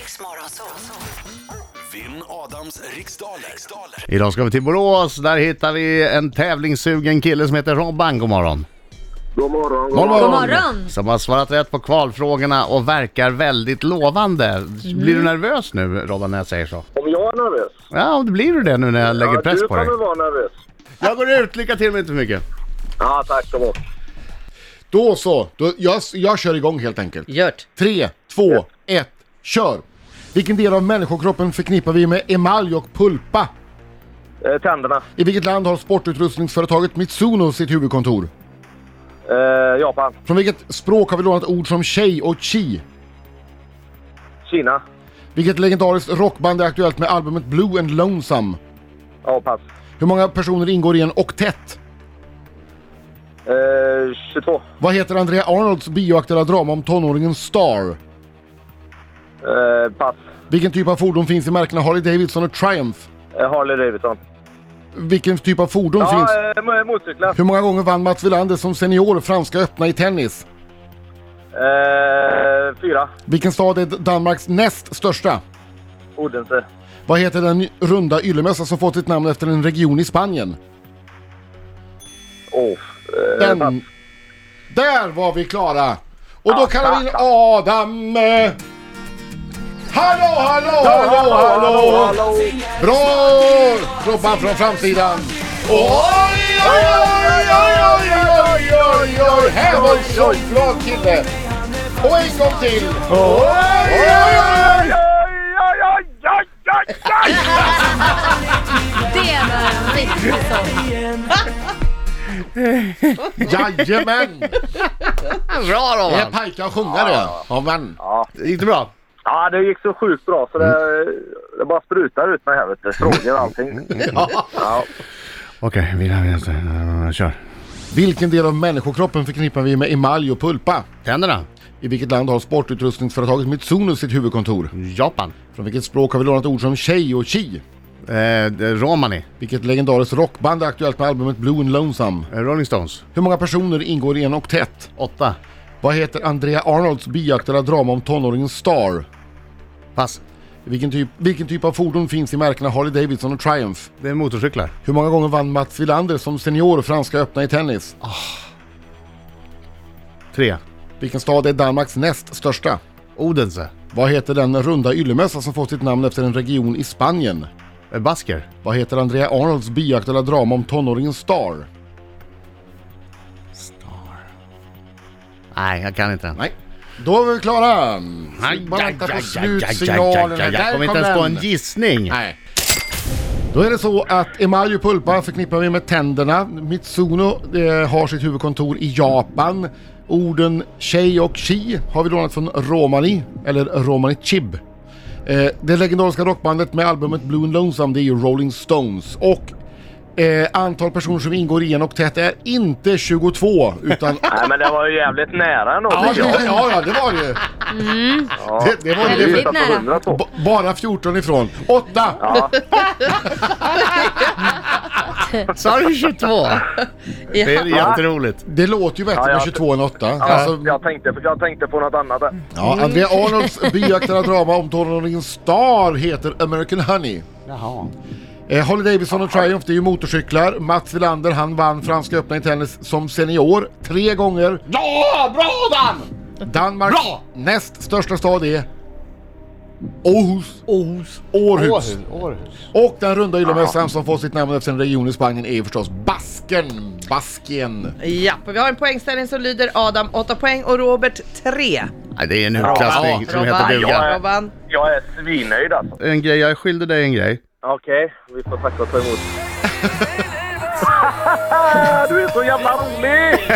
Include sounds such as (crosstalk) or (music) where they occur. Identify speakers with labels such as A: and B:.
A: Riksmorgon så, så.
B: Vinn Adams riksdaler. riksdaler.
C: Idag ska vi till Borås, där hittar vi en tävlingssugen kille som heter Robban, god morgon.
D: God morgon. God
E: morgon. morgon.
C: Som har svarat rätt på kvalfrågorna och verkar väldigt lovande. Blir
E: Mm.
C: du nervös nu Robban när jag säger så?
D: Om jag är nervös?
C: Ja, det blir du det nu när jag lägger
D: ja,
C: press
D: du
C: på dig.
D: kommer vara nervös.
C: Jag går ut, lycka till men inte för mycket.
D: Ja, tack så mycket.
F: Då så, då, jag, jag kör igång helt enkelt.
E: Gört.
F: Tre, två, ett, kör! Vilken del av människokroppen förknippar vi med emalj och pulpa?
D: Eh, tänderna.
F: I vilket land har sportutrustningsföretaget Mitsuno sitt huvudkontor?
D: Eh, Japan.
F: Från vilket språk har vi lånat ord som tjej och chi?
D: Kina.
F: Vilket legendariskt rockband är aktuellt med albumet Blue and Lonesome?
D: Ja, pass.
F: Hur många personer ingår i en oktett?
D: Eh, 22.
F: Vad heter Andrea Arnolds bioaktuella drama om tonåringen Star?
D: Eh, pass.
F: Vilken typ av fordon finns i märkena Harley Davidson och Triumph?
D: Eh, Harley Davidson.
F: Vilken typ av fordon finns?
D: Ja, eh, mo- motorcyklar.
F: Hur många gånger vann Mats Wilander som senior Franska öppna i tennis?
D: Eh, fyra.
F: Vilken stad är Danmarks näst största?
D: Odense.
F: Vad heter den runda yllemössa som fått sitt namn efter en region i Spanien?
D: Oh, eh, pass.
F: Den... Där var vi klara! Och då kallar vi in Adam! eh. Hallå, hallå, hallå, hallå! Bra! Robban från framsidan! Oj, oj, oj, oj, oj, oj, oj, oj! Här var en solglad kille! Och en gång till! Oj, oj, oj!
E: Det var en riktig sång.
F: Jajamän!
C: Bra
F: Det är
C: Robban!
F: pajka och sjunga det. Ja, men.
C: Gick det bra?
D: Ja, det gick så sjukt bra så det, det bara sprutar ut mig här vet du. Frågor och allting. Ja.
C: Okej, vi vidare, kör.
F: Vilken del av människokroppen förknippar vi med emalj och pulpa?
C: Tänderna?
F: I vilket land har sportutrustningsföretaget Mitsuno sitt huvudkontor?
C: Japan?
F: Från vilket språk har vi lånat ord som tjej och chi?
C: Eh, romani?
F: Vilket legendariskt rockband är aktuellt med albumet Blue and Lonesome?
C: Eh, Rolling Stones?
F: Hur många personer ingår i en oktett?
C: Åtta?
F: Vad heter Andrea Arnolds biaktuella drama om tonåringen Star?
C: Pass.
F: Vilken typ, vilken typ av fordon finns i märkena Harley Davidson och Triumph?
C: Det är motorcyklar.
F: Hur många gånger vann Mats Wilander som senior Franska öppna i tennis?
C: Tre?
F: Vilken stad är Danmarks näst största?
C: Odense?
F: Vad heter den runda yllemössa som fått sitt namn efter en region i Spanien?
C: Eh, basker?
F: Vad heter Andrea Arnolds biaktuella drama om tonåringen Star?
C: Nej, jag kan inte den.
F: Nej. Då är vi klara! Bara vänta på slutsignalen.
C: Jag
F: Där
C: kommer inte
F: kom
C: ens på en
F: den.
C: gissning.
F: Nej. Då är det så att emalj och pulpa förknippar vi med tänderna. Mitsuno eh, har sitt huvudkontor i Japan. Orden tjej och chi har vi lånat från romani, eller romani chib. Eh, det legendariska rockbandet med albumet Blue and Lonesome det är ju Rolling Stones. Och eh, antal personer som ingår i en oktett är inte 22
D: (laughs)
F: utan...
D: Nej men det var ju jävligt nära ändå.
F: ja,
D: tycker jag.
F: ja, ja, det var det ju.
D: Ja.
F: Det, det var det.
E: Väldigt
D: Utan på
E: nära.
D: 100 så.
F: B- bara 14 ifrån. 8!
D: Ja.
C: (laughs) Sa du (laughs) 22? Det är jätteroligt.
F: Det låter ju bättre
D: Ja,
F: med
D: jag-
F: 22 än 8. Ja,
D: Ja,
F: (laughs) alltså,
D: jag, tänkte, jag tänkte på något annat där.
F: ja, Andrea
C: Mm.
F: Arnolds biaktuella drama om tonåringen Star heter American Honey.
C: Jaha.
F: Eh, Holly Davidson och Triumph, det är ju motorcyklar. Mats Wilander, han vann Franska öppna i tennis som senior tre gånger.
C: Ja, bra Dan!
F: Danmarks
C: Bra!
F: näst största stad är Åhus. Åhus. Århus.
C: Århus.
F: Och den runda yllemössan som får sitt namn efter en region i Spanien är förstås Basken. Basken.
G: Japp, vi har en poängställning som lyder Adam 8 poäng och Robert 3.
C: Nej, det är en utklassning
F: Ja,
C: som heter duga.
G: Robban.
D: Jag är svinnöjd alltså.
C: En grej, jag är skyldig dig en grej.
D: Okej, vi får tacka och ta emot. (laughs) du är så jävla rolig!